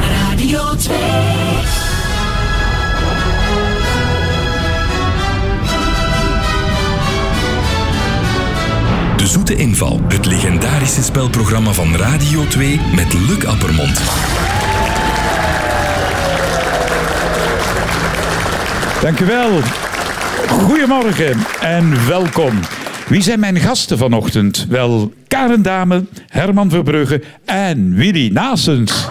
Radio 2. De Zoete Inval, het legendarische spelprogramma van Radio 2 met Luc Appermond. Dank u wel. Goedemorgen en welkom. Wie zijn mijn gasten vanochtend? Wel, Karen Dame, Herman Verbrugge en Willy Nasens.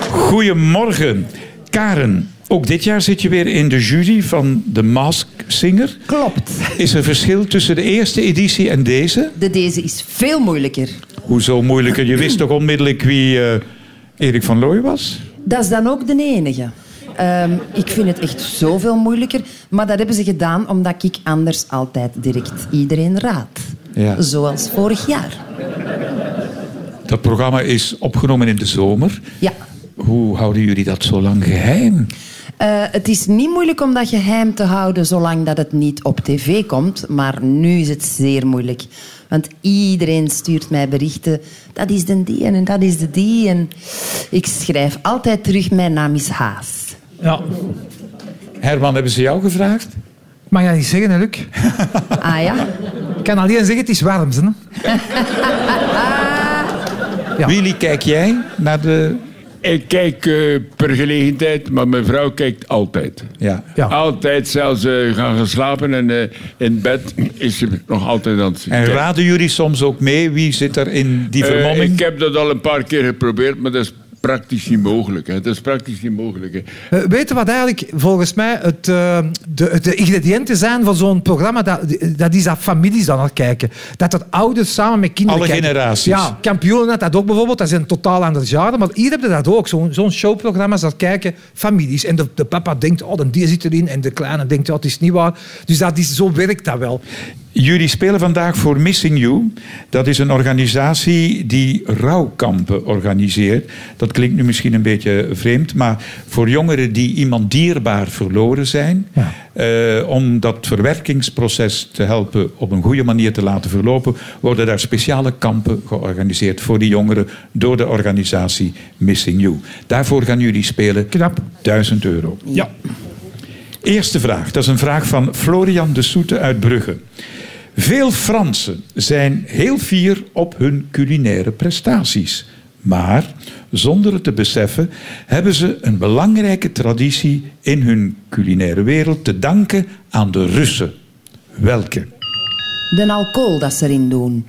Goedemorgen. Karen, ook dit jaar zit je weer in de jury van The Mask Singer. Klopt. Is er verschil tussen de eerste editie en deze? De deze is veel moeilijker. Hoezo moeilijker? Je wist toch onmiddellijk wie eh, Erik van Looy was? Dat is dan ook de enige. Ehm, ik vind het echt zoveel moeilijker. Maar dat hebben ze gedaan omdat ik anders altijd direct iedereen raad. Ja. Zoals vorig jaar. Dat programma is opgenomen in de zomer. Ja. Hoe houden jullie dat zo lang geheim? Eh, het is niet moeilijk om dat geheim te houden zolang dat het niet op tv komt. Maar nu is het zeer moeilijk. Want iedereen stuurt mij berichten. Dat is de die en dat is de die. En ik schrijf altijd terug, mijn naam is Haas. Ja, Herman, hebben ze jou gevraagd? ik mag dat niet zeggen, hè, Luc. Ah ja? Ik kan alleen zeggen, het is warm. Hè? Ja. Willy, kijk jij naar de... Ik kijk eh, per gelegenheid, maar mijn vrouw kijkt altijd. Ja. Ja. Altijd, zelfs eh, gaan geslapen en eh, in bed is ze nog altijd aan het zien. En raden jullie soms ook mee wie zit er in die Eh, vermomming? ik heb dat al een paar keer geprobeerd, maar dat is praktisch niet mogelijk. Hè. Dat is praktisch niet mogelijk. Hè. Eh, weet je wat eigenlijk volgens mij het, eh, de, de ingrediënten zijn van zo'n programma? Dat, dat is dat families dan al kijken. Dat dat ouders samen met kinderen Alle kijken. generaties. Ja, kampioenen had dat ook bijvoorbeeld. Dat zijn totaal andere jaren. Maar hier heb je dat ook. Zo'n zo'n showprogramma's, dat kijken families. En de, de papa denkt, oh, de dier zit erin. En de kleine denkt, oh, het is niet waar. Dus dat is, zo werkt dat wel. Jullie spelen vandaag voor Missing You. Dat is een organisatie die rouwkampen organiseert. Dat klinkt nu misschien een beetje vreemd, maar voor jongeren die iemand dierbaar verloren zijn, eh, om dat verwerkingsproces te helpen op een goede manier te laten verlopen, worden daar speciale kampen georganiseerd voor die jongeren door de organisatie Missing You. Daarvoor gaan jullie spelen Knap. 1000 euro. Ja. Eerste vraag, dat is een vraag van Florian de Soete uit Brugge. Veel Fransen zijn heel fier op hun culinaire prestaties. Maar zonder het te beseffen hebben ze een belangrijke traditie in hun culinaire wereld te danken aan de Russen. Welke? De alcohol dat ze erin doen.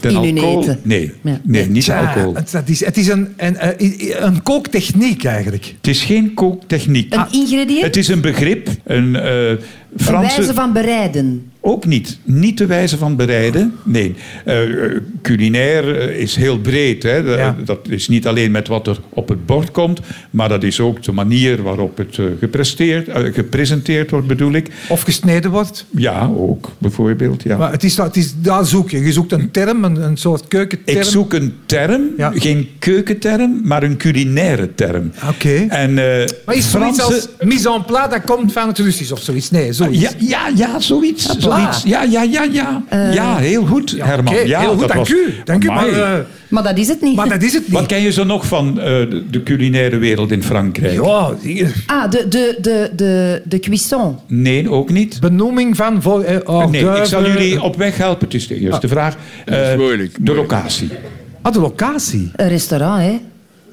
Ten In hun eten. Nee, Ja. nee niet de Tja, alcohol. Het, dat is, het is een, een, een, een kooktechniek eigenlijk. Het is geen kooktechniek. Ah. Een ingrediënt? Het is een begrip. Een eh Een Franse wijze van bereiden. Ook niet. Niet de wijze van bereiden. Nee. Eh, eh, culinair eh, is heel breed. Hè. Da- Ja. Dat is niet alleen met wat er op het bord komt, maar dat is ook de manier waarop het eh, gepresteerd, eh, gepresenteerd wordt, bedoel ik. Of gesneden wordt. Ja, ook bijvoorbeeld. Ja. Maar het is, het is, daar zoek je. Je zoekt een term, een, een soort keukenterm. Ik zoek een term, Ja. geen keukenterm, maar een culinaire term. Oké. En eh, Maar is zoiets Fransen- als mise en plat, dat komt van het Russisch of zoiets? Nee, zoiets. Ah, Ja, ja, ja, zoiets. Hopla. zoiets. Ja, ja, ja, ja. ja, heel goed, Eh, Ja, Herman. oké, ja, heel goed, dat dank was- u. Dank u, maar, Amai. eh, Maar dat is het niet. maar dat is het Wat niet. ken je zo nog van eh, de- de culinaire wereld in Frankrijk? Ja, hier. Ah, de, de, de, de, de cuisson. Nee, ook niet. benoeming van... Voor, eh, oh, nee, ik zal duiven. jullie op weg helpen. Het is de eerste vraag. Dat is Eh, moeilijk, De moeilijk. locatie. Ah, de locatie. Een restaurant, hè.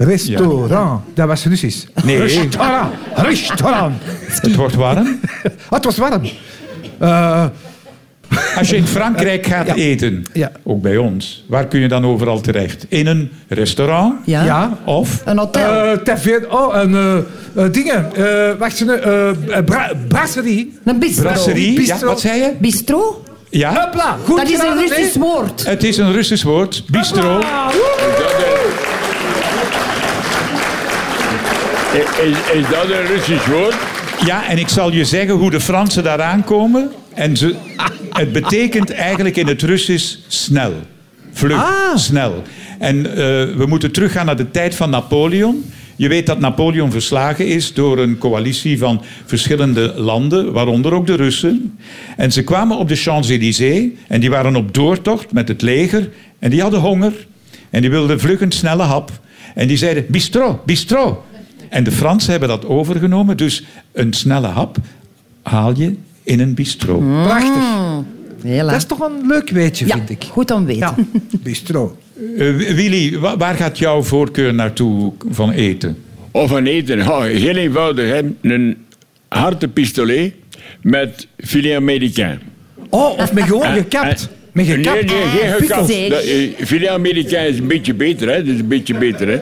Restaurant. Dat was Russisch. Nee. Restaurant. Restaurant. Het wordt warm. Ah, het was warm. Eh, Als je in Frankrijk gaat Ja. eten, Ja. ook bij ons, waar kun je dan overal terecht? In een restaurant? Ja. ja. Of? Een hotel. Eh taverne- oh, en eh, eh, dingen. Eh, wacht, een eh eh, bra- brasserie. een bistro. Brasserie? Ja, Bistro. wat zei je? Bistro? Ja. Hopla, goed dat is een geraden, nee. Russisch woord. Het is een Russisch woord. Bistro. Ah, woe. Is, dat een, I- is, is dat een Russisch woord? Ja, en ik zal je zeggen hoe de Fransen daaraan komen. En ze, het betekent eigenlijk in het Russisch snel. Vlug, snel. En eh, we moeten teruggaan naar de tijd van Napoleon. Je weet dat Napoleon verslagen is door een coalitie van verschillende landen, waaronder ook de Russen. En ze kwamen op de Champs-Élysées en die waren op doortocht met het leger. En die hadden honger en die wilden vlug een snelle hap. En die zeiden, bistro, bistro. En de Fransen hebben dat overgenomen, dus een snelle hap haal je in een bistro. Prachtig. Mm. Hela. Dat is toch een leuk weetje, ja, vind ik. goed om weten. Ja, bistro. Eh, Willy, wa- waar gaat jouw voorkeur naartoe van eten? Of van eten. Ja, heel eenvoudig. hè. Een harte pistolet met filet américain. Oh, of met gewoon Eh, gekapt. Met Nee, gekapt. Ah, nee, geen gekapt. Pixel. Dat, eh, Filet Amerikaan is een beetje beter, hè. Dat is een beetje beter, hè.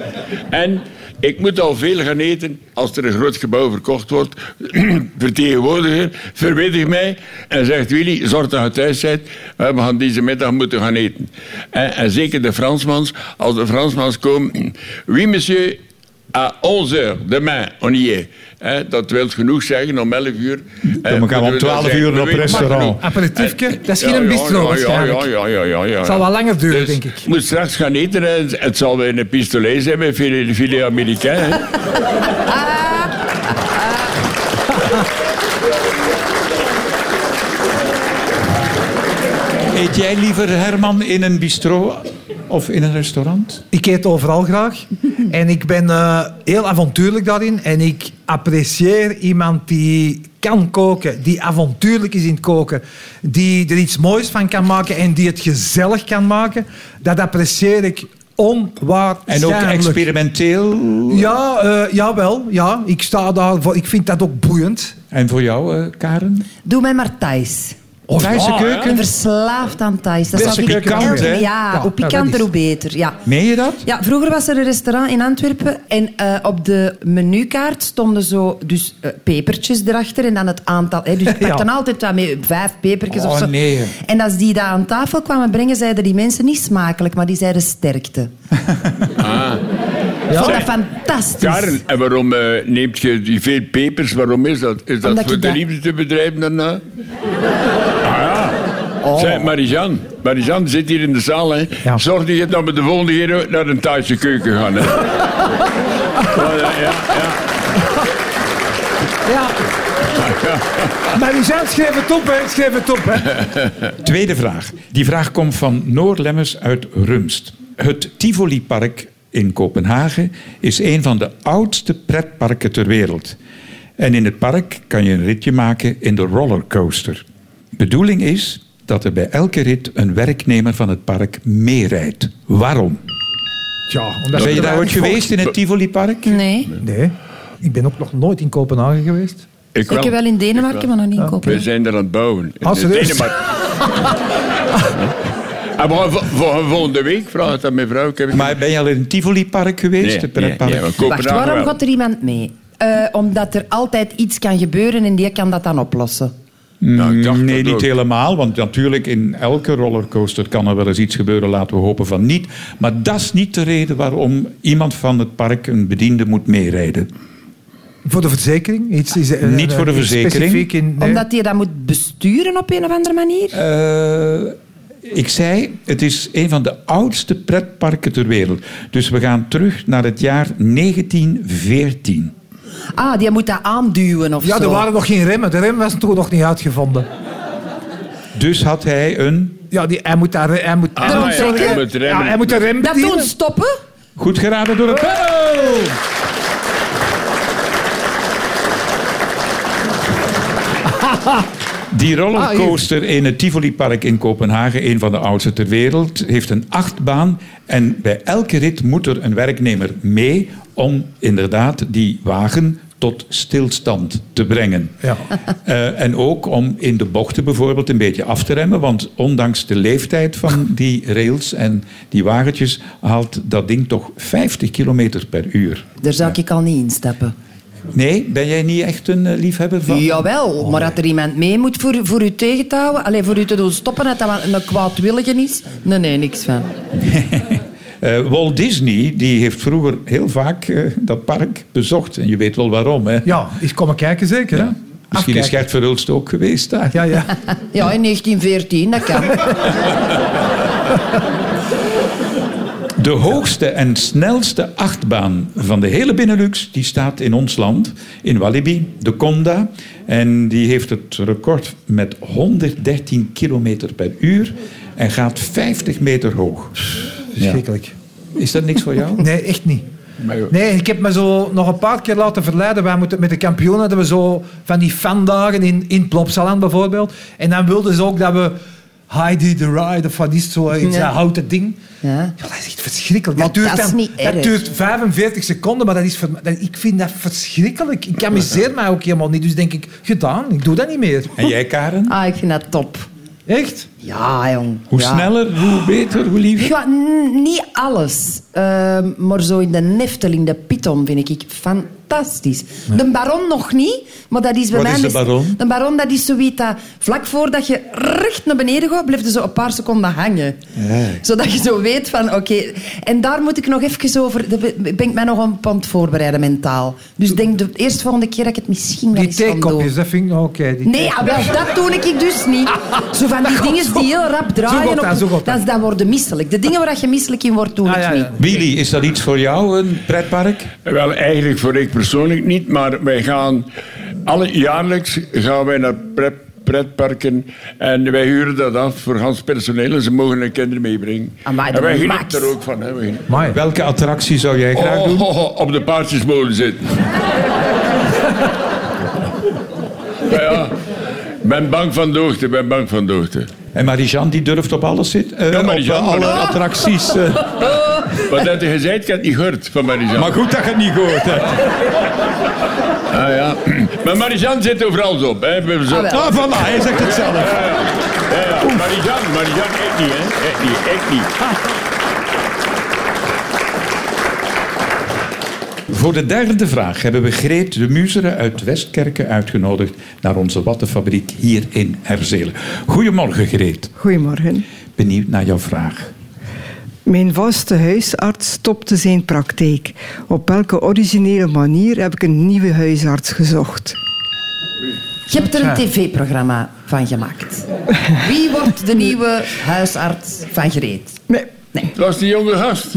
En ik moet al veel gaan eten als er een groot gebouw verkocht wordt. Vertegenwoordiger, verwittig mij en zegt Willy, zorg dat je thuis bent. hè, We gaan deze middag moeten gaan eten. En, en zeker de Fransmans. Als de Fransmans komen... "Mm, Oui, monsieur, à 11 heures, demain, on y est. Hè, dat wil genoeg zeggen, om 11 uur. eh, gaan we moeten om dat 12 zeggen. uur op We weten restaurant. genoeg. Aperitiefje, En- dat is geen bistro waarschijnlijk. Ja, ja, ja, ja, ja. zal wel langer duren, Dus denk ik. moet straks gaan eten hè. Het- het zal weer een pistolet zijn met filet, filet Amerikaan. hè. Eet jij liever, Herman, in een bistro of in een restaurant? Ik eet overal graag. En ik ben eh, heel avontuurlijk daarin. En ik apprecieer iemand die kan koken, die avontuurlijk is in het koken, die er iets moois van kan maken en die het gezellig kan maken. Dat apprecieer ik En ook onwaarschijnlijk. experimenteel. Ja, eh jawel. Ja. Ik sta daarvoor. Ik vind dat ook boeiend. En voor jou, eh, Karen? Doe mij maar Thais. Oh, Thaise ja, Ik ben keuken? verslaafd aan Thais. Dat Best zou ik pikant, elke- hè? Ja, Ja, hoe ja, dat pikanter, is. hoe beter. Ja. Meen je dat? Ja, vroeger was er een restaurant in Antwerpen en eh, op de menukaart stonden zo dus eh, pepertjes erachter en dan het aantal. Hè, dus ik Ja. pakte altijd wat mee, vijf pepertjes Oh, of zo. nee. En als die dat aan tafel kwamen brengen, zeiden die mensen niet smakelijk, maar die zeiden sterkte. Ik vond dat fantastisch. Karen, en waarom eh, neemt je die veel pepers? Waarom is dat? Is dat Omdat voor ik de dat- liefde te bedrijven daarna? Ah ja. Zeg, Marijan, Marijan zit hier in de zaal. Hè. Oh. Ja. Zorg dat je dat we de volgende keer ook naar een Thaise keuken gaan. Hè. ja, ja, ja, Ja. Maar die zijn schreef het op, hè. Schreef het op, hè. Tweede vraag. Die vraag komt van Noor Lemmers uit Rumst. Het Tivoli Park in Kopenhagen is een van de oudste pretparken ter wereld. En in het park kan je een ritje maken in de rollercoaster. Bedoeling is dat er bij elke rit een werknemer van het park meerijdt. Waarom? Ja, omdat Ben je er daar ooit weinig geweest in het Tivoli Park? Nee, volk- Nee. Ik ben ook nog nooit in Kopenhagen geweest. Ik ik heb wel in Denemarken, maar nog niet in We Kopenhagen. zijn er aan het bouwen. In Ah, serieus? Denemarken. En we gaan vo- voor volgende week vraag het aan mijn vrouw. Ik heb Maar ben je al in het Tivoli Park geweest? nee, het nee, pretpark? nee, we kopen Wacht, daar waarom wel. gaat er iemand mee? Eh, omdat er altijd iets kan gebeuren en die kan dat dan oplossen. Nou, ik dacht Mm, nee, dat niet ook. helemaal. Want natuurlijk, in elke rollercoaster kan er wel eens iets gebeuren. Laten we hopen van niet. Maar dat is niet de reden waarom iemand van het park, een bediende, moet meerijden. Voor de verzekering? Iets, is, eh, Niet voor de iets verzekering. specifiek in- nee. Omdat je dat moet besturen op een of andere manier? Eh, ik zei, het is een van de oudste pretparken ter wereld. Dus we gaan terug naar het jaar 1914. Ah, die moet dat aanduwen of ja, zo. er waren nog geen remmen. De rem was toen nog niet uitgevonden. Dus had hij een... Ja, die, hij moet daar... Hij moet, hij Ah, moet ja, zo'n hij rem- moet remmen. Ja, hij moet de rem Dat doen bedienen. stoppen? Goed geraden door het panel! Die rollercoaster in het Tivoli Park in Kopenhagen, een van de oudste ter wereld, heeft een achtbaan. En bij elke rit moet er een werknemer mee om inderdaad die wagen tot stilstand te brengen. Ja. Eh, en ook om in de bochten bijvoorbeeld een beetje af te remmen. Want ondanks de leeftijd van die rails en die wagentjes haalt dat ding toch 50 kilometer per uur. Daar zou ik al niet instappen. Nee, ben jij niet echt een eh, liefhebber van? Oh, Jawel, maar dat er iemand mee moet voor, voor u tegen te houden, alleen voor u te doen stoppen, dat dat een kwaadwillige is, nee, nee, niks van. Eh, Walt Disney die heeft vroeger heel vaak eh, dat park bezocht. En je weet wel waarom, hè? Ja, eens komen kijken zeker. hè? Misschien is Afkijken. Gert Verhulst ook geweest daar. Ja, ja. Ja, in 1914, dat kan. De hoogste en snelste achtbaan van de hele Benelux, die staat in ons land, in Walibi, de Conda. En die heeft het record met 113 kilometer per uur en gaat 50 meter hoog. Ja. Verschrikkelijk. Is dat niks voor jou? Nee, echt niet. Maar joh. Nee, ik heb me zo nog een paar keer laten verleiden. Wij moeten met de kampioenen hadden we zo van die fandagen in, in Plopsaland bijvoorbeeld. En dan wilden ze ook dat we Heidi the Ride of wat is het, zo, iets, Ja. dat houten ding. Ja. Ja, dat is echt verschrikkelijk. Maar dat duurt, dat is dan- niet dat erg. duurt 45 seconden, maar dat is, ver- dat, ik vind dat verschrikkelijk. Ik amuseer mij ook helemaal niet. Dus denk ik, gedaan, ik doe dat niet meer. En jij, Karen? Ah, ik vind dat top. Echt? Ja, jong. Hoe Ja. sneller, hoe beter, hoe liever? Ja, n- niet alles. Ehm, maar zo in de Nefteling, de Python, vind ik fantastisch. De Baron nog niet, maar dat is bij Wat mij... is de mis- Baron? De Baron, dat is zoiets dat vlak voordat je recht naar beneden gaat, blijft er zo een paar seconden hangen. Zodat je zo weet van, oké... En daar moet ik nog even over... daar ben ik mij nog een pand voorbereiden mentaal. Dus ik denk de eerste volgende keer dat ik het misschien wel Die eens kan doen. theekopjes, dat vind ik nou oké. die- Nee, ja, wel, dat doe ik dus niet. Zo van die dingen die heel rap draaien. gaat dat, op- zo gaat dat. dat, dat worden misselijk. De dingen waar je misselijk in wordt, doe Ah, ik ja, niet. ja. Willy, is dat iets voor jou, een pretpark? Wel, eigenlijk voor ik persoonlijk niet, maar wij gaan alle, jaarlijks gaan wij naar pret, pretparken en wij huren dat af voor Hans personeel en ze mogen hun kinderen meebrengen. Amai, en dat wij Ah, max. genieten er ook van. Hè, wij genieten. Amai. Welke attractie zou jij graag Oh, doen? oh, oh, op de paardjesmolen zitten. maar ja, ik ben bang van de hoogte, ik ben bang van de hoogte. En Marie-Jean, die durft op alles zitten? Eh, Ja, op Marie-Jean, eh, alle maar- attracties. eh. Wat dat je gezegd, ik heb het niet gehoord van Marie-Jean. Maar goed dat je het niet gehoord hebt. Ah, ja. Maar Marie-Jean zit overal op. Hè. We hebben zo- Ah, wel. Ah, voilà, hij zegt het zelf. Ja, ja. Marie-Jean, Marie-Jean, echt niet, hè? Echt niet, echt niet. Voor de derde vraag hebben we Greet de Muzeren uit Westkerken uitgenodigd naar onze wattenfabriek hier in Herzelen. Goedemorgen Greet, Goedemorgen. benieuwd naar jouw vraag. Mijn vaste huisarts stopte zijn praktijk. Op welke originele manier heb ik een nieuwe huisarts gezocht? Je hebt er een tv-programma van gemaakt. Wie wordt de nieuwe huisarts van Greet? Mijn, Het was die jonge gast.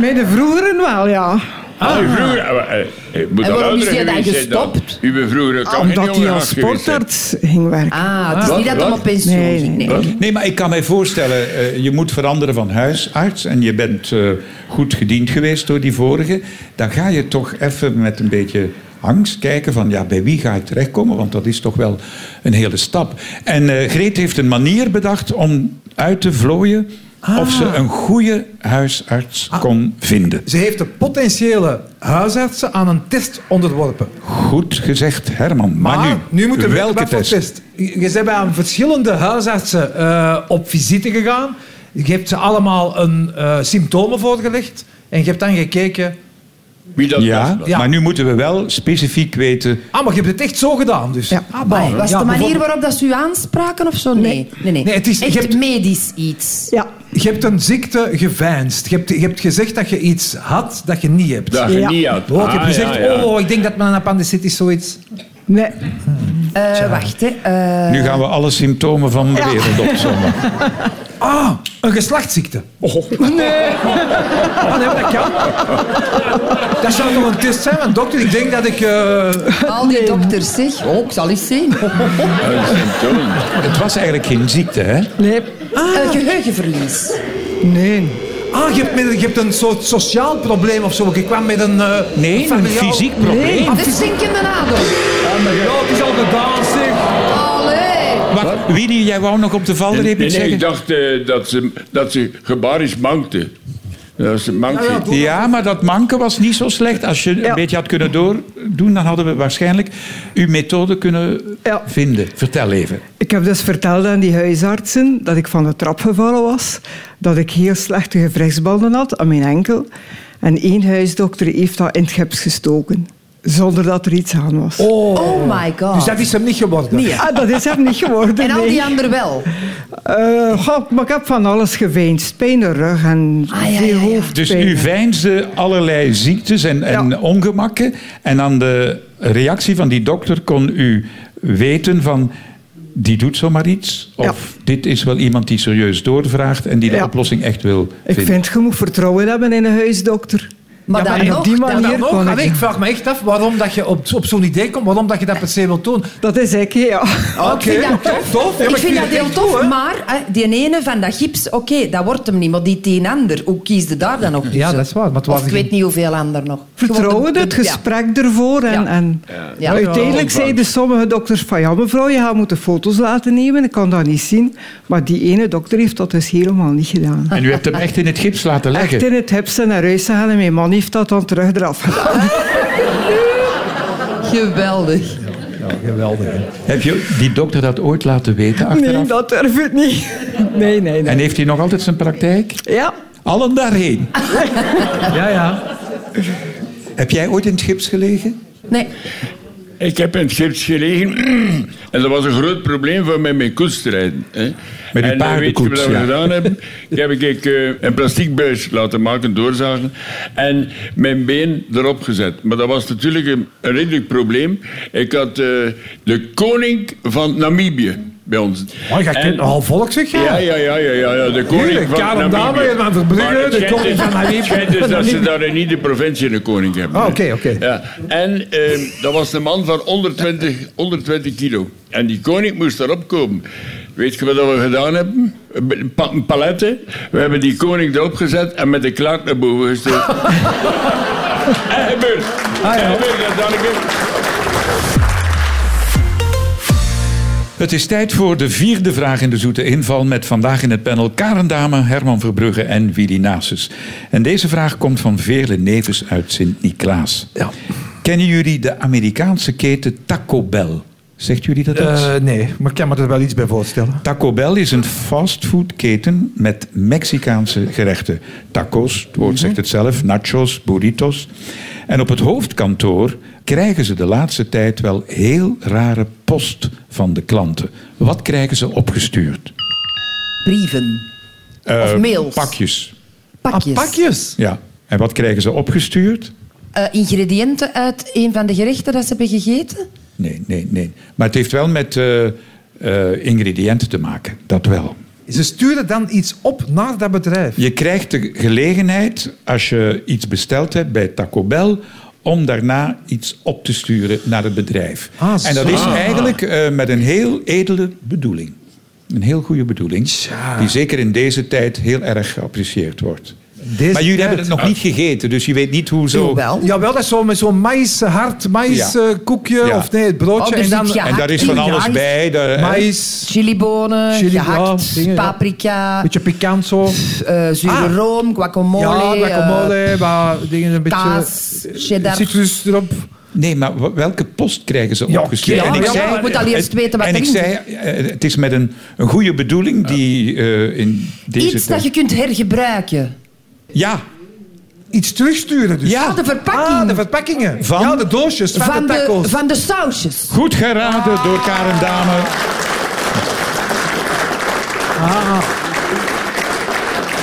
mijn vroegeren wel, ja. Ah, u vroeger... eh, eh, ik moet En al waarom is ouder hij dan geweest zijn dan. gestopt? U bent vroeger ook geen Ah, Omdat jonge hij als gast geweest. hè? sportarts ging werken. Ah, het is Wat? niet dat hij Wat? op pensioen Nee, ging. Nee. nee, Nee, maar ik kan mij voorstellen, eh, je moet veranderen van huisarts en je bent eh, goed gediend geweest door die vorige. Dan ga je toch even met een beetje angst kijken van ja, bij wie ga ik terechtkomen? Want dat is toch wel een hele stap. En eh, Greet heeft een manier bedacht om uit te vlooien of ze een goede huisarts kon vinden. Ze heeft de potentiële huisartsen aan een test onderworpen. Goed gezegd, Herman. Maar, Maar nu, nu, moeten we welke weten wat test? voor test. Je je bent bij aan verschillende huisartsen eh, op visite gegaan. Je hebt ze allemaal een, eh, symptomen voorgelegd. En je hebt dan gekeken... Wie dat Ja, was. Ja. maar nu moeten we wel specifiek weten. Ah, maar je hebt het echt zo gedaan dus. Ja. Ah, Amai, bah. was Ja, de manier bijvoorbeeld- waarop dat ze u aanspraken of zo? Nee. nee, nee. Nee, het is- Echt je hebt- medisch iets. Ja, Je hebt een ziekte geveinsd. Je hebt, je hebt gezegd dat je iets had dat je niet hebt. Dat je Ja. niet had. Oh, ik heb Ah, gezegd, ja, ja. oh, ik denk dat mijn appendicitis zoiets... nee. Eh, wacht, hè. Eh, Nu gaan we alle symptomen van de wereld opzommen. Ah, een geslachtsziekte. Oh. Nee. nee, maar dat kan. Dat zou toch een test zijn, want dokter, ik denk dat ik... eh, al die dokters, zeg. Oh, ik zal eens zien. Een symptoom. Het was eigenlijk geen ziekte, hè? Nee. Eh, geheugenverlies. Nee. Ah, je hebt, met, je hebt een soort sociaal probleem of zo. Je kwam met een... eh, Nee, een familiaal- fysiek probleem. De zinkende nadel. Ja, het is al gedaan, zeg. Allee. Wacht, Willy, jij wou nog op de valreep Nee, iets nee, zeggen? ik dacht eh, dat, ze, dat ze gebarisch mankte. Dat ze mankte. Nou Ja, ja, doe- Ja, maar dat manken was niet zo slecht. Als je een Ja. beetje had kunnen doordoen, dan hadden we waarschijnlijk uw methode kunnen Ja. vinden. Vertel even. Ik heb dus verteld aan die huisartsen dat ik van de trap gevallen was, dat ik heel slechte gewrechtsbanden had aan mijn enkel. En één huisdokter heeft dat in het gips gestoken, zonder dat er iets aan was. Oh. Oh my god. Dus dat is hem niet geworden. Nee. Ah, dat is hem niet geworden. En al nee. die anderen wel. Eh, goh, maar ik heb van alles geveinsd. Pijn in de rug en Ah, ja, ja, veel ja. hoofdpijn. Dus u veinsde allerlei ziektes en, en Ja. ongemakken. En aan de reactie van die dokter kon u weten van... die doet zomaar iets. Of dit is wel iemand die serieus doorvraagt en die de Ja. oplossing echt wil Ik vinden. vind, je moet vertrouwen hebben in een huisdokter. Maar Ja, dan maar En nog, op die dan- manier Dan ook, kon ik- allee, ik vraag me echt af waarom dat je op, op zo'n idee komt, waarom dat je dat per se wilt doen. Dat is ik, ja. Oké, Ah, ik vind dat tof. tof. Ja, ik maar vind dat het heel echt tof, goed, hè. maar eh, die ene van dat gips, oké, dat wordt hem niet. Maar die tien ander, hoe kies je daar dan nog Ja, tussen? dat is waar, maar het of waren ik geen- weet niet hoeveel ander nog. Gewoon Vertrouwen, de- het de- ja. gesprek ervoor. En, Ja. en Ja. Oh, Uiteindelijk zeiden sommige dokters van ja mevrouw, je gaat moeten foto's laten nemen, ik kan dat niet zien. Maar die ene dokter heeft dat dus helemaal niet gedaan. En u hebt hem echt in het gips laten leggen. Echt in het hipste naar huis gaan en mijn man heeft dat dan terug eraf gedaan. Geweldig. Geweldig. hè. Heb je die dokter dat ooit laten weten achteraf? Nee, dat durf ik niet. Nee, nee, nee. En heeft hij nog altijd zijn praktijk? Ja, Allen daarheen. Ja, ja. Heb jij ooit in het gips gelegen? Nee, Ik heb in het gips gelegen en dat was een groot probleem voor mij met koetsstrijden. Hè. Met uw en eh, weet je paardenkoets, wat we ja. gedaan hebben? Ik heb ik eh, een plastic buis laten maken, doorzagen en mijn been erop gezet. Maar dat was natuurlijk een, een redelijk probleem. Ik had eh, de koning van Namibië bij ons. Oh, je En- kent nogal volk, zeg je. ja, ja, ja, ja, ja, ja, de koning Tuurlijk, van Karel Namibië. Dame, Herman Verbrugge, Maar het de schijnt koning dus- van Namibië. het schijnt dus dat ze daar niet de provincie een koning hebben. Ah, hè. oké, oké. Ja, en ehm, dat was een man van 120, 120 kilo. En die koning moest erop komen. Weet je wat we gedaan hebben? Een pa- een palette. We hebben die koning erop gezet en met de klaart naar boven gestuurd. Ebber! Ah, Ebber, dat dacht ik. Het is tijd voor de vierde vraag in de Zoete Inval met vandaag in het panel Karen Dame, Herman Verbrugge en Willy Nasus. En deze vraag komt van Veerle Neves uit Sint-Niklaas. Kennen jullie de Amerikaanse keten Taco Bell? Zegt jullie dat iets? Eh, nee, maar ik kan me er wel iets bij voorstellen. Taco Bell is een fastfoodketen met Mexicaanse gerechten. Tacos, het woord zegt het zelf, nachos, burritos. En op het hoofdkantoor krijgen ze de laatste tijd wel heel rare post van de klanten. Wat krijgen ze opgestuurd? brieven. of mails. Eh, Pakjes, Pakjes. Ah, pakjes. ja. En wat krijgen ze opgestuurd? Eh, ingrediënten uit een van de gerechten dat ze hebben gegeten. Nee, nee, nee. Maar het heeft wel met eh, eh, ingrediënten te maken, dat wel. Ze sturen dan iets op naar dat bedrijf. Je krijgt de gelegenheid, als je iets besteld hebt bij Taco Bell, om daarna iets op te sturen naar het bedrijf. Ah, zo. en dat is eigenlijk eh, met een heel edele bedoeling. Een heel goede bedoeling, die zeker in deze tijd heel erg geapprecieerd wordt. Deze maar jullie tijd. hebben het nog niet gegeten, dus je weet niet hoe zo... Jawel. Jawel, dat is zo met zo'n mais, eh, hard Ja. maiskoekje koekje Ja. of nee, het broodje. Oh, dus en dan iets gehakt. En daar is eh, van alles Ja, bij. daar, hè. mais, Chilibonen, Chili- gehakt, ja, dingen, ja. paprika, beetje pikant zo. eh, zure Ah. room, guacamole, ja, eh, guacamole, wat dingen een beetje... eh, kaas, cheddar. Citrus erop. Nee, maar w- welke post krijgen ze Ja, opgestuurd? ja, en ja, maar ik moet al eerst en- weten wat En ik erin zei, eh, het is met een, een goede bedoeling die eh, in deze Iets tijd... dat je kunt hergebruiken. Ja, Iets terugsturen dus. ja. Ah, de verpakking. Ah, de verpakkingen. Van? Ja, de doosjes van, van, de de, tacos. van de sausjes. Goed geraden door Karen Dame. Ah.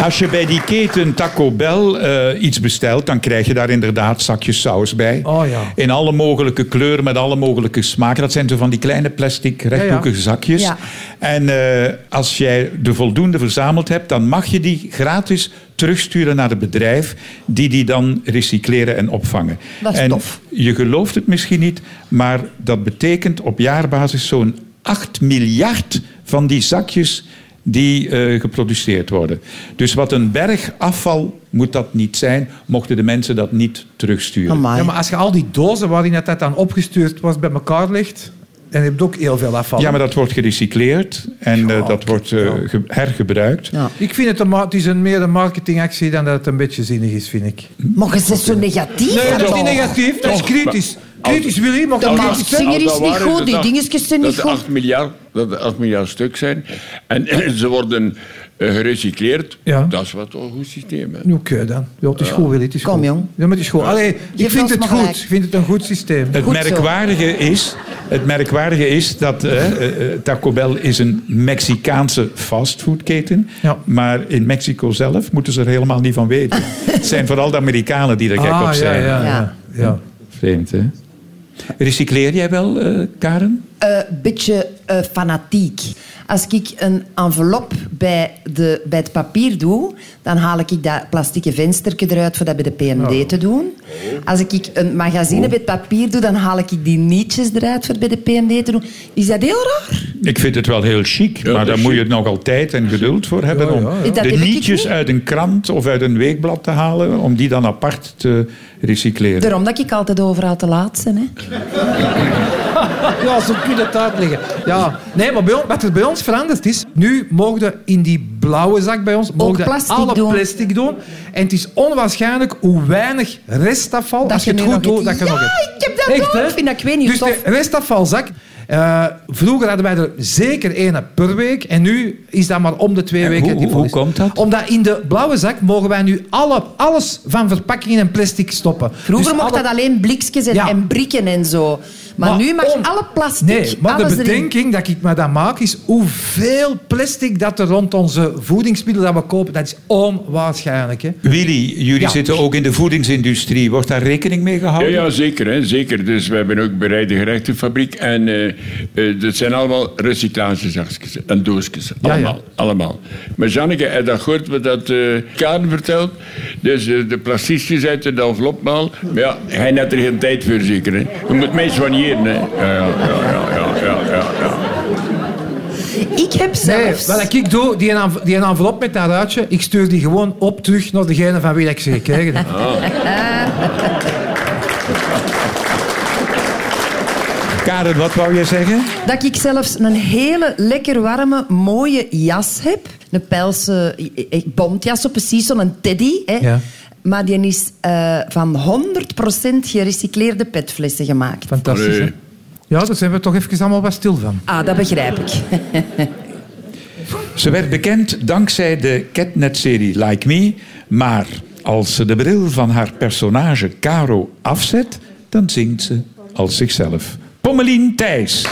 Als je bij die keten Taco Bell eh, iets bestelt, dan krijg je daar inderdaad zakjes saus bij. Oh ja. In alle mogelijke kleuren, met alle mogelijke smaken. Dat zijn zo van die kleine plastic rechthoekige zakjes. Ja. En eh, als jij de voldoende verzameld hebt, dan mag je die gratis terugsturen naar het bedrijf, die die dan recycleren en opvangen. Dat is en tof. je gelooft het misschien niet, maar dat betekent op jaarbasis zo'n 8 miljard van die zakjes die eh, geproduceerd worden. Dus wat een berg afval moet dat niet zijn, mochten de mensen dat niet terugsturen. Amai. Ja, maar als je al die dozen waarin dat, dat dan opgestuurd wordt bij elkaar legt, dan heb je ook heel veel afval. Ja, maar dat wordt gerecycleerd en eh, dat wordt eh, ge- hergebruikt. Ja. Ik vind het, een, ma- het is een, meer een marketingactie dan dat het een beetje zinnig is, vind ik. Maar je bent zo negatief. Nee, dat is Karel. niet negatief, dat is kritisch. Kritisch, Willy, mag De dat maat kritisch zijn? zinger Als is dat niet waar goed, dat die acht- dingetjes zijn niet dat goed. 8 miljard, dat er 8 miljard stuk zijn. En ze worden eh, gerecycleerd. Ja. Dat is wat een goed systeem. Hè. Oké dan. Ja, het is goed, Willy, het is Kom, goed. jong. Ja, maar het is goed. Allee, ik Geef vind ons het maar goed. gelijk. Ik vind het een goed systeem. Het Goed zo. merkwaardige, is, het merkwaardige is dat eh, eh, eh, Taco Bell is een Mexicaanse fastfoodketen. Ja. Maar in Mexico zelf moeten ze er helemaal niet van weten. het zijn vooral de Amerikanen die er gek op Ah, ja, zijn. ja, ja. Ja. ja. Vreemd, hè? Recycleer jij wel, eh, Karen? een beetje eh, fanatiek. Als ik een envelop bij, de, bij het papier doe, dan haal ik dat plastieke venstertje eruit voor dat bij de PMD Oh. te doen. Als ik een magazine bij het papier doe, dan haal ik die nietjes eruit voor bij de PMD te doen. Is dat heel raar? Ik vind het wel heel chic, maar dat daar is moet je chic. het nogal tijd en geduld voor hebben Ja, om ja, ja. Dat de heb ik nietjes niet. uit een krant of uit een weekblad te halen, om die dan apart te recycleren. Daarom dat ik altijd overal te laat ben. Hè. Dus Ja, zo kun je het uitleggen. Ja. Nee, maar bij ons, wat er bij ons veranderd is... Nu mogen we in die blauwe zak bij ons... mogen plastic alle doen. plastic doen. En het is onwaarschijnlijk hoe weinig restafval... als je het nu goed nog doet, iets- dat je Ja, nog hebt. ik heb dat ook. hè? Ik vind dat- ik weet niet, Dus de tof. restafvalzak... eh, vroeger hadden wij er zeker één per week. En nu is dat maar om de twee En weken. hoe- die vol hoe is. komt dat? Omdat in de blauwe zak mogen wij nu alle, alles van verpakking en plastic stoppen. Vroeger Dus mocht alle- dat alleen blikjes en, Ja. en brikken en zo. Maar, nu mag om- alle plastic. Nee, maar alles de erin. bedenking dat ik me dat maak is hoeveel plastic dat er rond onze voedingsmiddelen dat we kopen. Dat is onwaarschijnlijk. Hè? Willy, jullie Ja. zitten ook in de voedingsindustrie. Wordt daar rekening mee Ja, gehouden? ja zeker, hè, zeker. Dus we hebben ook bereide gerechtenfabriek. En eh, eh, dat zijn allemaal recyclagezakjes en doosjes. ja. Allemaal, allemaal. Maar Janneke, heb je dat gehoord wat dat eh Karen vertelt? Dus eh, de plasticiëns uit de envelopmaal. Maar ja, hij had er geen tijd voor zeker. Hè. Je moet mij soigneren. Hè. Ja, ja, ja, ja, ja, ja, ja. Ik heb Nee, zelfs. wat ik doe, die, env- die envelop met dat ruitje, ik stuur die gewoon op terug naar degene van wie ik ze gekregen heb. Karen, wat wou jij zeggen? Dat ik zelfs een hele lekker warme, mooie jas heb. Een pelse eh, eh, bontjas, zo precies zo'n teddy. Hè. Ja. Maar die is eh, van 100% gerecycleerde petflessen gemaakt. Fantastisch. hè? Nee. Ja, daar zijn we toch even allemaal wat stil van. Ah, dat begrijp ik. Ze werd bekend dankzij de Catnet-serie Like Me. Maar als ze de bril van haar personage Caro afzet, dan zingt ze als zichzelf. Pommelien Thijs.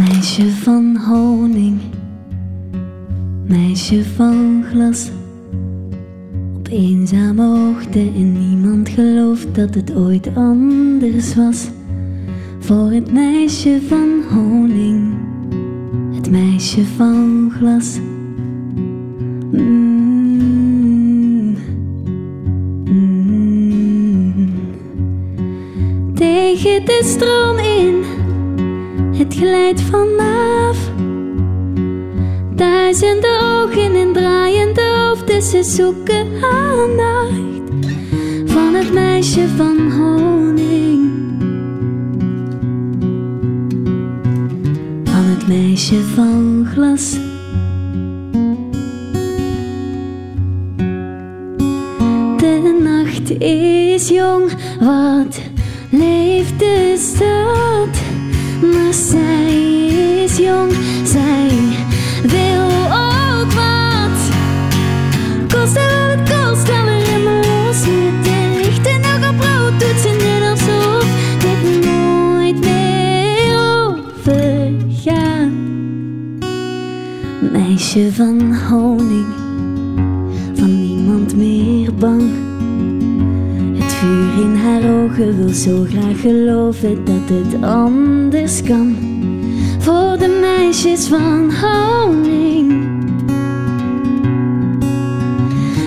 Meisje van honing, meisje van glas. Op eenzame hoogte en niemand gelooft dat het ooit anders was. Voor het meisje van honing, het meisje van glas. Mm. Mm. Tegen de stroom in het glijdt vanaf. Duizenden ogen en draaiende hoofden, ze zoeken aandacht van het meisje van honing. Van het meisje van glas. De nacht is jong, wat leeft de stad. Maar zij is jong, zij wil ook wat. Kost er wat het kost, alle remmen los met de lichten nog op rood. Doet ze net alsof dit nooit meer overgaat. Meisje van honing van niemand meer bang. Het vuur in haar ogen wil zo graag geloven dat het anders kan. Voor de meisjes van honing.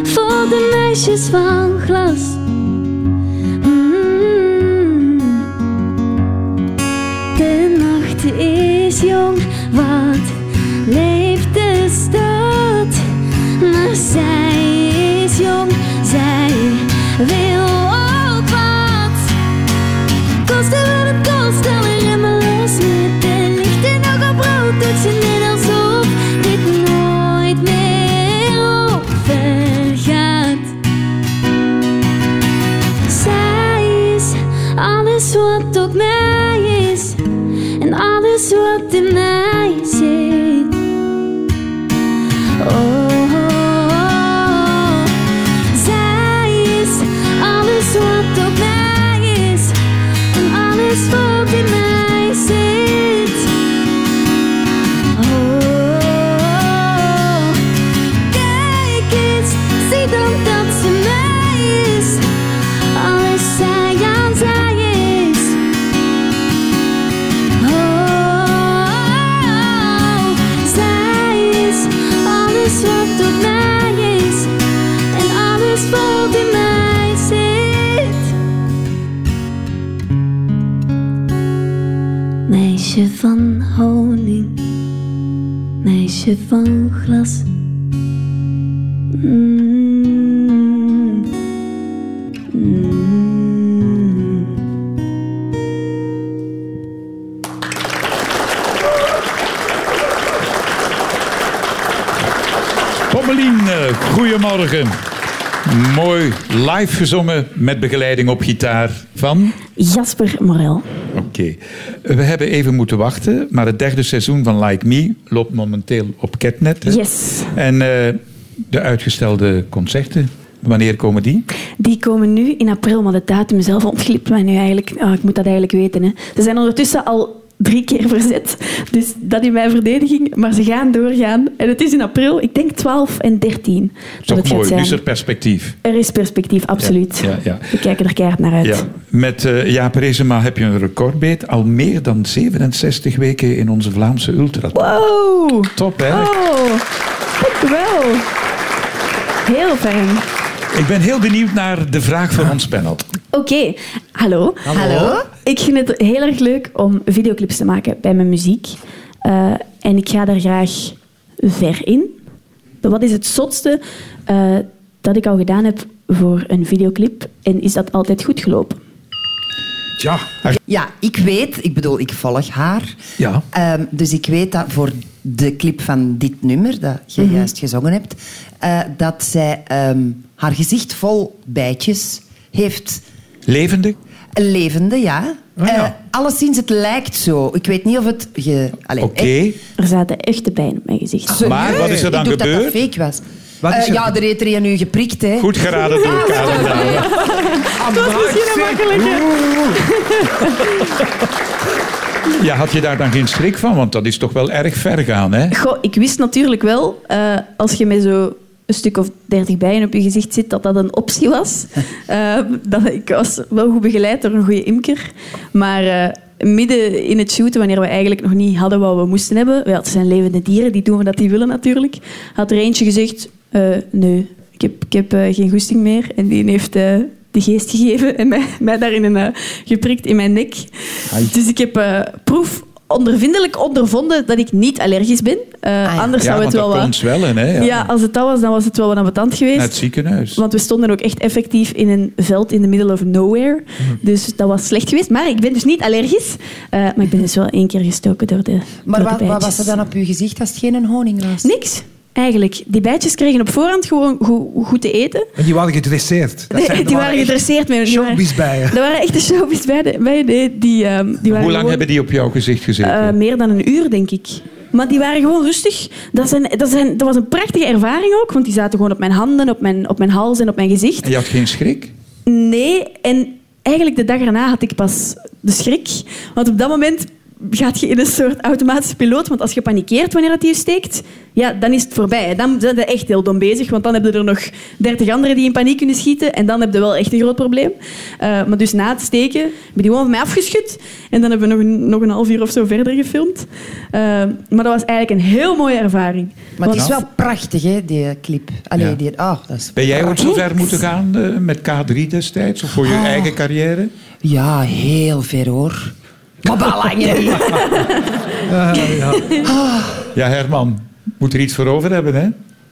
Voor de meisjes van glas. Mm. De nacht is jong, wat leeft de stad? Maar zij is jong, zij wil ook wat. Kosten wat het kost, alle remmen los met de lichten nog op rood. Doet ze net alsof dit nooit meer overgaat. Zij is alles wat op mij is en alles wat in mij zit. Oh, oh, oh. zij is alles wat op mij is en alles wat in mij zit. Oh, oh, oh. Kijk eens, zie dan dat ze mij. Oh, Meisje van honing, meisje van glas. Mm. Mm. Pommelien, eh, goedemorgen. Mooi live gezongen met begeleiding op gitaar van. Jasper Morel. Oké. We hebben even moeten wachten, maar het derde seizoen van Like Me loopt momenteel op Catnet. hè? Yes. En eh, de uitgestelde concerten, wanneer komen die? Die komen nu in april, maar de datum zelf ontglipt mij nu eigenlijk. Ah, ik moet dat eigenlijk weten. Hè. Ze zijn ondertussen al drie keer verzet. Dus dat in mijn verdediging. Maar ze gaan doorgaan. En het is in april, ik denk 12 en 13. Is toch het eh, gaat mooi, zijn. nu is er perspectief. Er is perspectief, absoluut. Ja, ja, ja. We kijken er keihard naar uit. Ja, met eh Jaap Rezema heb je een recordbeet. Al meer dan 67 weken in onze Vlaamse ultra. Wow! Top, hè? Oh, dank u wel. Heel fijn. Ik ben heel benieuwd naar de vraag van ons panel. Oké, hallo. Hallo. Ik vind het heel erg leuk om videoclips te maken bij mijn muziek. Eh, en ik ga daar graag ver in. Wat is het zotste eh, dat ik al gedaan heb voor een videoclip? En is dat altijd goed gelopen? Tja, Ja, ik weet, ik bedoel, ik volg haar. Ja. Ehm, dus ik weet dat voor de clip van dit nummer, dat je Mhm. juist gezongen hebt, eh, dat zij ehm, haar gezicht vol bijtjes heeft. Levende? Een levende, ja. Ah, ja. Eh, alleszins, het lijkt zo. Ik weet niet of het... Ge... Allee, Oké. echt- Er zaten echte pijn op mijn gezicht. Serieus? Maar wat is er dan ik dacht gebeurd? dat dat fake was. Wat is Eh, er- ja, er heeft er een nu geprikt, hè. Goed geraden door Karel. Daan. Ja, had je daar dan geen schrik van? Want dat is toch wel erg ver gaan, hè? Goh, ik wist natuurlijk wel, eh, als je met zo een stuk of dertig bijen op je gezicht zit, dat dat een optie was. Eh, dat, ik was wel goed begeleid door een goede imker. Maar eh, midden in het shooten, wanneer we eigenlijk nog niet hadden wat we moesten hebben... Wel, het zijn levende dieren, die doen wat die willen natuurlijk. Had er eentje gezegd, eh, nee, ik heb, ik heb eh, geen goesting meer. En die heeft... eh, de geest gegeven en mij, mij daarin een, eh, geprikt in mijn nek. Dus ik heb eh, proef ondervindelijk ondervonden dat ik niet allergisch ben. Eh, Ah ja. Anders Ja, zou want het wel dat kon wat... zwellen, hè? Ja. als het dat was, dan was het wel wat ambetant Naar geweest. het ziekenhuis. Want we stonden ook echt effectief in een veld in the middle of nowhere. Mhm. Dus dat was slecht geweest. Maar ik ben dus niet allergisch. Eh, maar ik ben dus wel één keer gestoken door de Maar door de wat, wat bijtjes. was er dan op uw gezicht als het geen honing was? Niks, eigenlijk. Die bijtjes kregen op voorhand gewoon go- goed te eten. en die waren gedresseerd. Dat Nee, zijn- die waren echt gedresseerd met die waren- Showbizbijen. Er waren echte showbiz bij. De, bij de, die, ehm, die waren Hoe lang gewoon- hebben die op jouw gezicht gezeten? Eh, meer dan een uur, denk ik. Maar die waren gewoon rustig. Dat, zijn, dat, zijn, dat was een prachtige ervaring ook, want die zaten gewoon op mijn handen, op mijn, op mijn hals en op mijn gezicht. En je had geen schrik? Nee, en eigenlijk de dag erna had ik pas de schrik. Want op dat moment gaat je in een soort automatische piloot, want als je panikeert wanneer dat hier steekt, ja, dan is het voorbij. Dan zijn we echt heel dom bezig, want dan hebben er nog dertig anderen die in paniek kunnen schieten en dan heb je wel echt een groot probleem. Eh, maar dus na het steken hebben die gewoon van mij afgeschud en dan hebben we nog een, nog een half uur of zo verder gefilmd. Eh, maar dat was eigenlijk een heel mooie ervaring. Maar het Want- is wel prachtig, hè, die clip. Allee, Ja. die... ah, dat is Ben jij ook prachtig. zo ver moeten gaan eh, met K3 destijds? Of voor je Ah. eigen carrière? Ja, heel ver, hoor. Maar belangrijk. Ja, Herman, moet er iets voor over hebben, hè?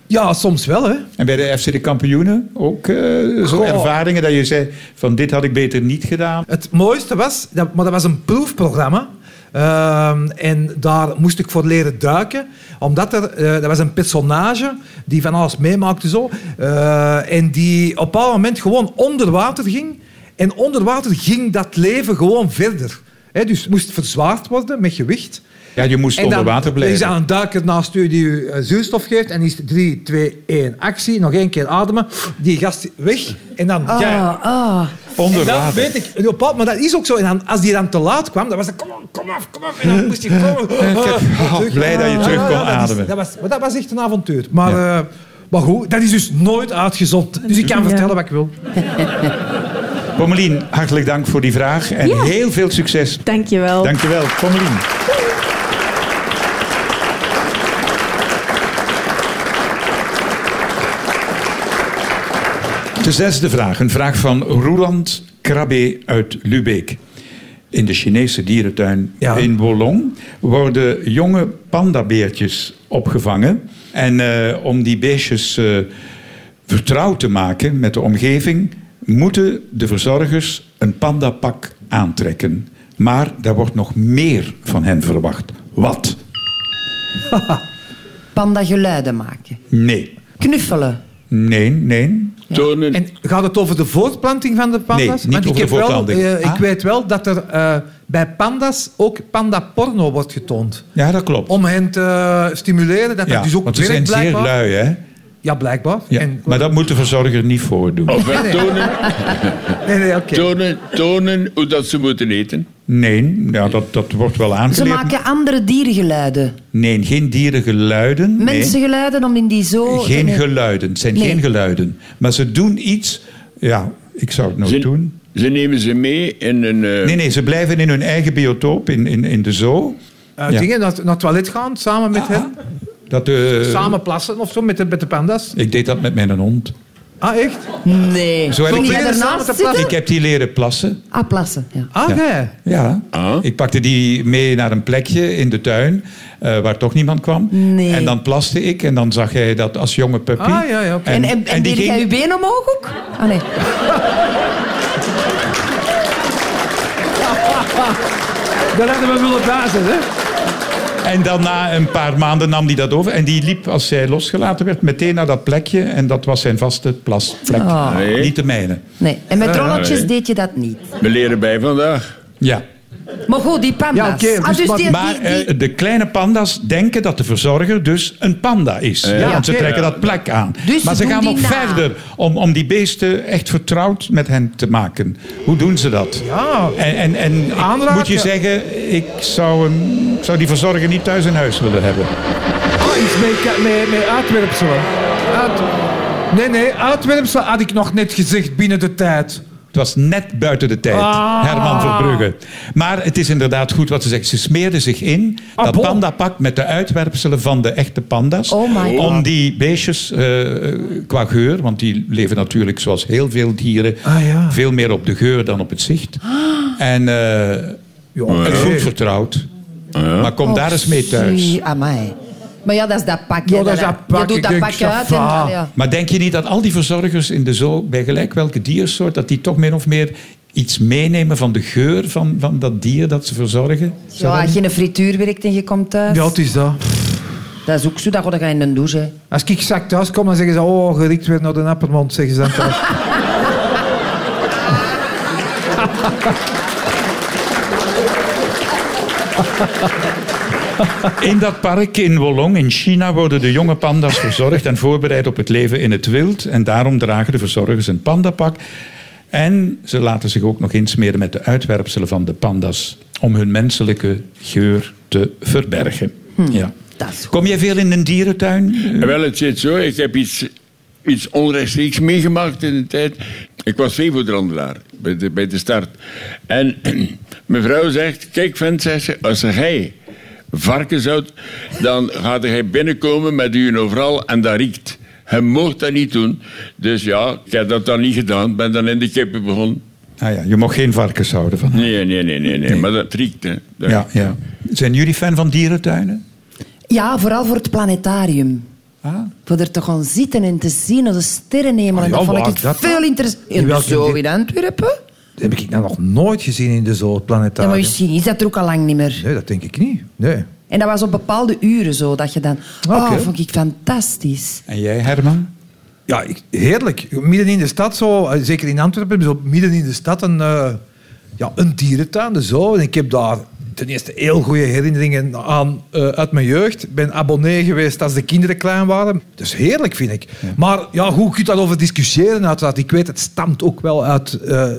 Ja, soms wel, hè. En bij de FC de kampioenen ook eh, zo'n Goh. ervaringen dat je zei van dit had ik beter niet gedaan. Het mooiste was, dat, maar dat was een proefprogramma. Ehm, en daar moest ik voor leren duiken. Omdat er, eh dat was een personage die van alles meemaakte zo. eh, en die op een bepaald moment gewoon onder water ging. En onder water ging dat leven gewoon verder. Hè, dus het moest verzwaard worden met gewicht. Ja, je moest En onder dan water blijven. Is aan een duiker naast u die u eh, zuurstof geeft. En is 3, 2, 1, actie. Nog één keer ademen. Die gast weg. En dan Ah, jij. ah. Onder En dat water. weet ik. En op bepaald- maar dat is ook zo. En dan, als die dan te laat kwam, dan was het kom op, kom af, kom af. En dan moest hij komen. ik heb- oh, Terug. blij dat je terug kon dat is- ademen. dat, was, maar dat was echt een avontuur. Maar, Ja. eh, maar goed, dat is dus nooit uitgezond. Dus ik kan Ja. vertellen wat ik wil. Pommelien, hartelijk dank voor die vraag en Ja. heel veel succes. Dankjewel. Dankjewel, Pommelien. De zesde vraag, een vraag van Roeland Krabbe uit Lubeek. in de Chinese dierentuin Ja. in Wolong worden jonge pandabeertjes opgevangen. En eh, om die beestjes eh, vertrouwd te maken met de omgeving, moeten de verzorgers een pandapak aantrekken. Maar daar wordt nog meer van hen verwacht. Wat? Pandageluiden maken. Nee. Knuffelen. Nee, nee. Tonen. En gaat het over de voortplanting van de pandas? Nee, niet Want ik, over heb de wel, voortplanting. eh, ik Ah. weet wel dat er eh, bij pandas ook pandaporno wordt getoond. Ja, dat klopt. Om hen te eh, stimuleren. Dat ja, dat dus ook want ze werkt, zijn zeer blijkbaar. lui, hè? Ja, blijkbaar. Ja, En- Oh. maar dat moet de verzorger niet voordoen. Of wel tonen, nee, nee, oké. tonen, tonen hoe dat ze moeten eten. Nee, ja, dat, dat wordt wel Ze aangeleerd. maken andere dierengeluiden. Nee, geen dierengeluiden. nee. Mensengeluiden om in die zo... Geen Nee. geluiden. Het zijn Nee. geen geluiden. Maar ze doen iets... Ja, ik zou het nooit Ze, doen. ze nemen ze mee in een... eh, Nee, nee, ze blijven in hun eigen biotoop, in, in, in de zoo. Eh, Ja. Ah. Dingen, naar, naar het toilet gaan, samen met hen. Dat, eh, Samen plassen of zo, met de, met de pandas. Ik deed dat met mijn hond. Ah, echt? Nee. Zo heb Ging ik- jij daarnaast Samen te plassen. zitten? Ik heb die leren plassen. Ah, plassen. Ja. Ah, Ja. nee. Ja. Ah. Ik pakte die mee naar een plekje in de tuin, eh, waar toch niemand kwam. Nee. En dan plaste ik en dan zag hij dat als jonge puppy. Ah, ja, ja, oké. En, en, en, die deed jij ging- je been omhoog ook? Ah, nee. Daar hadden we willen blazen, hè? En dan na een paar maanden nam hij dat over. En die liep, als zij losgelaten werd, meteen naar dat plekje. En dat was zijn vaste plasplek. Ah. Nee. Niet de mijne. nee. En Eh, met rolletjes nee. deed je dat niet. We leren bij vandaag. Ja. Maar goed, die panda's. Ja, oké, ah, dus dus wat- die, Maar die, die- eh, de kleine panda's denken dat de verzorger dus een panda is. ja, want ze oké. trekken dat plek aan. Dus maar ze ze doen gaan die nog na. verder om, om die beesten echt vertrouwd met hen te maken. Hoe doen ze dat? Ja. En, en, en ik Aanraken. moet je zeggen, ik zou, hem, ik zou die verzorger niet thuis in huis willen hebben. Ah, iets mee, ka- mee, mee uitwerpselen. Uit, nee, nee, uitwerpselen had ik nog net gezegd binnen de tijd. Het was net buiten de tijd, Ah. Herman Verbrugge. Maar het is inderdaad goed wat ze zegt. Ze smeerden zich in, Ah, dat bon. pandapak met de uitwerpselen van de echte panda's. Oh my om God. die beestjes eh, eh, qua geur, want die leven natuurlijk zoals heel veel dieren... Ah, ja. Ah. veel meer op de geur dan op het zicht. En eh, het voelt vertrouwd. Maar kom Oh, daar eens mee thuis. Oei, Amai. Maar ja, dat is dat pakje. Ja, dat is dat pak. Je Ik doet dat denk, pakje uit. En, chafa. ah, ja. Maar denk je niet dat al die verzorgers in de zoo, bij gelijk welke diersoort, dat die toch min of meer iets meenemen van de geur van, van dat dier dat ze verzorgen? ja, als je in een frituur werkt en je komt thuis. Ja, het is dat. Dat is ook zo, dat ga je in een douche. hè. Als ik zak thuis kom, dan zeggen ze, oh, gerikt weer naar de appermond, zeggen ze dan thuis. In dat park in Wolong in China worden de jonge panda's verzorgd en voorbereid op het leven in het wild. En daarom dragen de verzorgers een pandapak. En ze laten zich ook nog insmeren met de uitwerpselen van de panda's om hun menselijke geur te verbergen. Ja. Hmm, Dat is goed. Kom jij veel in een dierentuin? En wel, het zit zo. Ik heb iets, iets onrechtstreeks meegemaakt in de tijd. Ik was veevoederhandelaar bij de, bij de start. En mijn vrouw zegt, kijk vent, zegt ze, als jij varkens houdt, dan gaat hij binnenkomen met u overal en dat riekt. Hij mocht dat niet doen. Dus ja, ik heb dat dan niet gedaan. Ben dan in de kippen begonnen. Ah ja, je mag geen varkens houden van. Nee, nee, nee, nee, nee. Maar dat riekt, hè. Dat- Ja, ja. Zijn jullie fan van dierentuinen? Ja, vooral voor het planetarium. Ah. Voor er te gaan zitten en te zien als de sterrenhemel. Ah, en ja, dat vond waar ik is dat veel dan? interessant. In In de welke zoo ding? in Antwerpen? Dat heb ik nou nog nooit gezien in de zoo, het Ja, planetarium. maar misschien is dat er ook al lang niet meer. Nee, dat denk ik niet. Nee. En dat was op bepaalde uren zo, dat je dan... Oh, Oké. vond ik fantastisch. En jij, Herman? Ja, ik, heerlijk. Midden in de stad, zo, eh, zeker in Antwerpen, zo midden in de stad een, eh, ja, een dierentuin. Dus zo. En ik heb daar ten eerste heel goede herinneringen aan eh, uit mijn jeugd. Ik ben abonnee geweest als de kinderen klein waren. Dus heerlijk, vind ik. Maar ja, hoe kun je daarover discussiëren? Uiteraard. Ik weet, het stamt ook wel uit eh,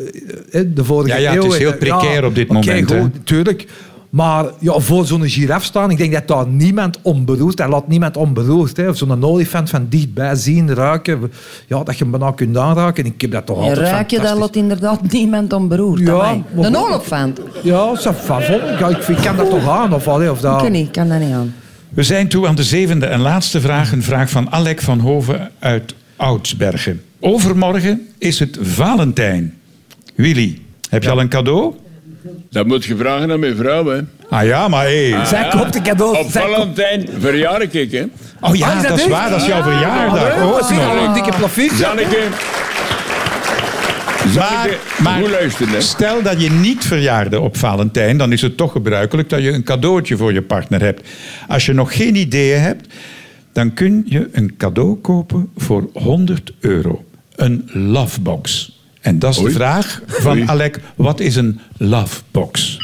eh, de vorige Ja, ja, het eeuw. is heel Eh, precair op dit oké, moment, hè. goed, natuurlijk. Maar ja, voor zo'n giraf staan, ik denk dat daar niemand onberoerd, dat laat niemand onberoerd. Hè. Of zo'n olifant van dichtbij zien, ruiken, ja, dat je hem bijna kunt aanraken. En ik heb Oh, dat toch En altijd ruik je, dat fantastisch. lot inderdaad niemand onberoerd. Ja, amai. maar Een goed. olifant. Ja, ça va, vol. ja, ik, ik kan dat toch aan, of, allee, of dat... Ik weet niet, ik kan dat niet aan. We zijn toe aan de zevende en laatste vraag. Een vraag van Alec van Hoven uit Oudsbergen. Overmorgen is het Valentijn. Willy, heb je al een cadeau? Dat moet je vragen aan mijn vrouw, hè. Ah ja, maar hé. Zij Ja. koopt de cadeaus. Op Zij koopt- Valentijn verjaar ik, hè. Oh ja, Ah, is dat, dat is echt? waar. Dat is jouw verjaardag. Oh, Ook zie je nog. al een dikke plafiet? Janneke... Maar, Janneke, maar goed luisteren, hè. stel dat je niet verjaarde op Valentijn, dan is het toch gebruikelijk dat je een cadeautje voor je partner hebt. Als je nog geen ideeën hebt, dan kun je een cadeau kopen voor 100 euro. Een lovebox. En dat is Oei. de vraag van Oei. Alec. Wat is een lovebox?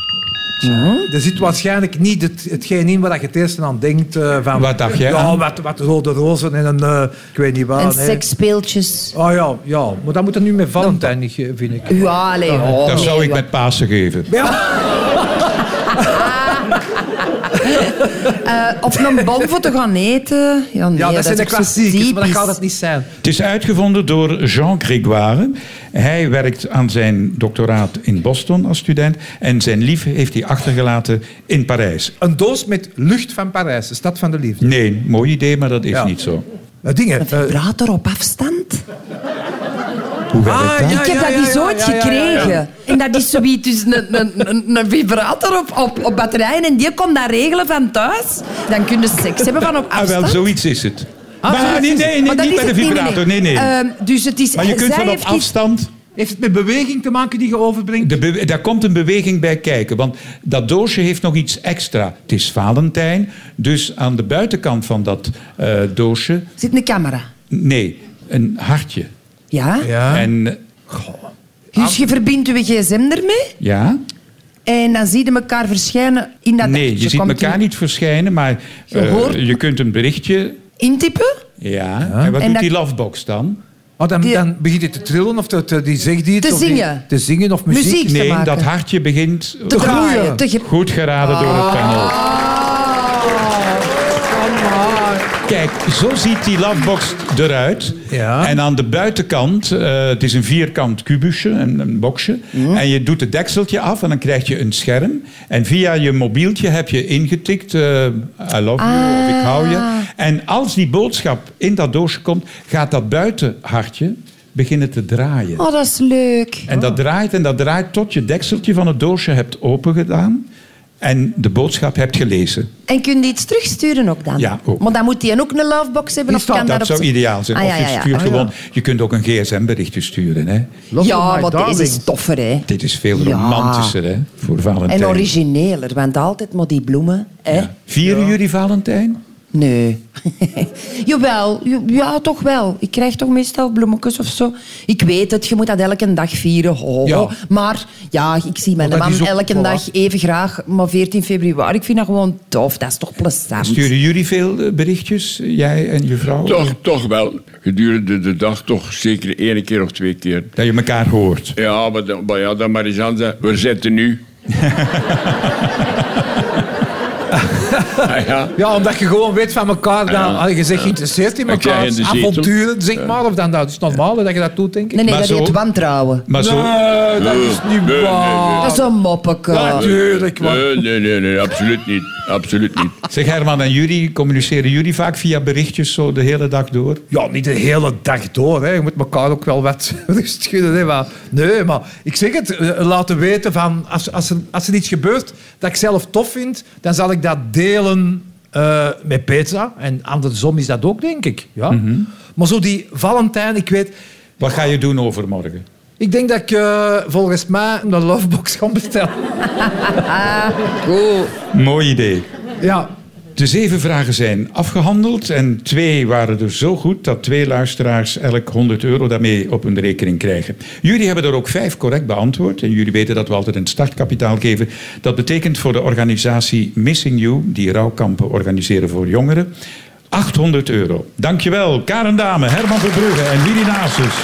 Er zit waarschijnlijk niet het, hetgeen in waar je het eerst aan denkt. eh, van, Wat dacht jij Ja, aan? Wat, wat rode rozen en een... eh, ik weet niet wat. En hè. seksspeeltjes. Oh ja, ja, maar dat moet er nu met Valentijn niet, eh, vind ik. Ja, allee, oh, dat zou nee, ik wat- met Pasen geven. Eh, of een bom voor te gaan eten. Ja, nee, Ja, dat, zijn de is ook zo klassiekers, maar dat typisch. kan dat niet zijn. Het is uitgevonden door Jean Grégoire. Hij werkt aan zijn doctoraat in Boston als student. En zijn lief heeft hij achtergelaten in Parijs. Een doos met lucht van Parijs, de stad van de liefde. Nee, mooi idee, maar dat is Ja. niet zo. Eh, dingen. eh, Vibrator op afstand? Hoe werkt Ah, dat? ja. ik heb dat eens ja, ooit ja, ja, ja, gekregen. ja. En dat is zoiets, dus een, een, een, een vibrator op, op, op batterijen. En die kon dat regelen van thuis. Dan kun je seks hebben van op Ah, afstand. wel, zoiets is het. Ah, maar zoiets nee, is het. nee, nee Maar dat niet bij is de het vibrator. Nee, nee. Ehm, dus het is... maar je kunt zij wel op heeft iets- afstand... Heeft het met beweging te maken die je overbrengt? De be- daar komt een beweging bij kijken. Want dat doosje heeft nog iets extra. Het is Valentijn. Dus aan de buitenkant van dat eh, doosje... Zit een camera. Nee, een hartje. Ja? Ja. En eh, Dus je verbindt je gsm ermee. ja... En dan zie je elkaar verschijnen in dat Nee, je ziet komt elkaar in- niet verschijnen, maar Je eh, hoort- je kunt een berichtje. Intypen. Ja. En wat En doet dat- die lovebox dan? Oh, dan, Die- dan begint het te trillen of te, te- die zegt iets. Te of die- zingen. te zingen of muziek. Muziek. Iets te Nee, maken. dat hartje begint. Te groeien. draaien. Te ge- Goed geraden door het panel. Oh, Kijk, zo ziet die lovebox eruit. Ja. En aan de buitenkant, eh, het is een vierkant kubusje, een, een boxje. En je doet het dekseltje af en dan krijg je een scherm. En via je mobieltje heb je ingetikt, eh, I love you of ik hou je. En als die boodschap in dat doosje komt, gaat dat buitenhartje beginnen te draaien. Oh, dat is leuk. En dat draait en dat draait tot je dekseltje van het doosje hebt opengedaan. En de boodschap hebt gelezen. En kun je iets terugsturen ook dan? Ja, ook. Maar dan moet hij ook een lovebox hebben? Die Of kan staat- dat, dat op zou zijn- ideaal zijn. Ah, ja, of je ja, ja. stuurt Ah, ja. gewoon... Je kunt ook een gsm-berichtje sturen, hè. Ja, maar deze is is toffer, hè. Dit is veel Ja. romantischer, hè, voor Valentijn. En origineler, want altijd maar die bloemen, hè. Ja. Vieren jullie Valentijn? Nee. Jawel, j- ja, toch wel. Ik krijg toch meestal bloemetjes of zo. Ik weet het, je moet dat elke dag vieren. ho, ho. Ja. Maar ja, ik zie mijn Maar dat man is ook- elke voilà. dag even graag. Maar 14 februari, ik vind dat gewoon tof. Dat is toch plezant. Sturen jullie veel eh, berichtjes, jij en je vrouw? Toch, toch wel. Gedurende de dag toch zeker één keer of twee keer. Dat je elkaar hoort. Ja, maar, dan, maar ja, dan maar eens aan zeggen, we zitten nu. ah, ja. Ja, omdat je gewoon weet van elkaar. Dan, Ja. ah, Je zegt geïnteresseerd in Ik elkaar. zeg in de zetel. avonturen, zeg maar. Of dan, dat is normaal dat je dat doet, denk ik. Nee, nee, Maar dat zo- heet wantrouwen. Maar zo... Nee, dat Nee, is niet Eh, nee, nee, waar. Dat is een moppeke. Natuurlijk, man. Nee, nee, nee, nee, absoluut niet. Absoluut niet. Zeg Herman en jullie, communiceren jullie vaak via berichtjes zo de hele dag door? Ja, niet de hele dag door. Hè. Je moet elkaar ook wel wat rust schudden. Hè. Maar, nee, maar ik zeg het, eh, laten weten van als, als, er, als er iets gebeurt dat ik zelf tof vind, dan zal ik dat delen eh, met Petra. En andersom is dat ook, denk ik. Ja. Maar zo die Valentijn, ik weet, Wat ga je doen overmorgen? ik denk dat ik eh, volgens mij een lovebox ga bestellen. Goed. Mooi idee. Ja. De zeven vragen zijn afgehandeld en twee waren er zo goed dat twee luisteraars elk 100 euro daarmee op hun rekening krijgen. Jullie hebben er ook vijf correct beantwoord en jullie weten dat we altijd een startkapitaal geven. Dat betekent voor de organisatie Missing You, die rouwkampen organiseren voor jongeren, 800 euro. Dankjewel, Karen Dame, Herman Verbrugge en Lili Nasus.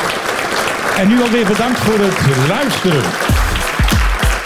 En nu alweer bedankt voor het luisteren.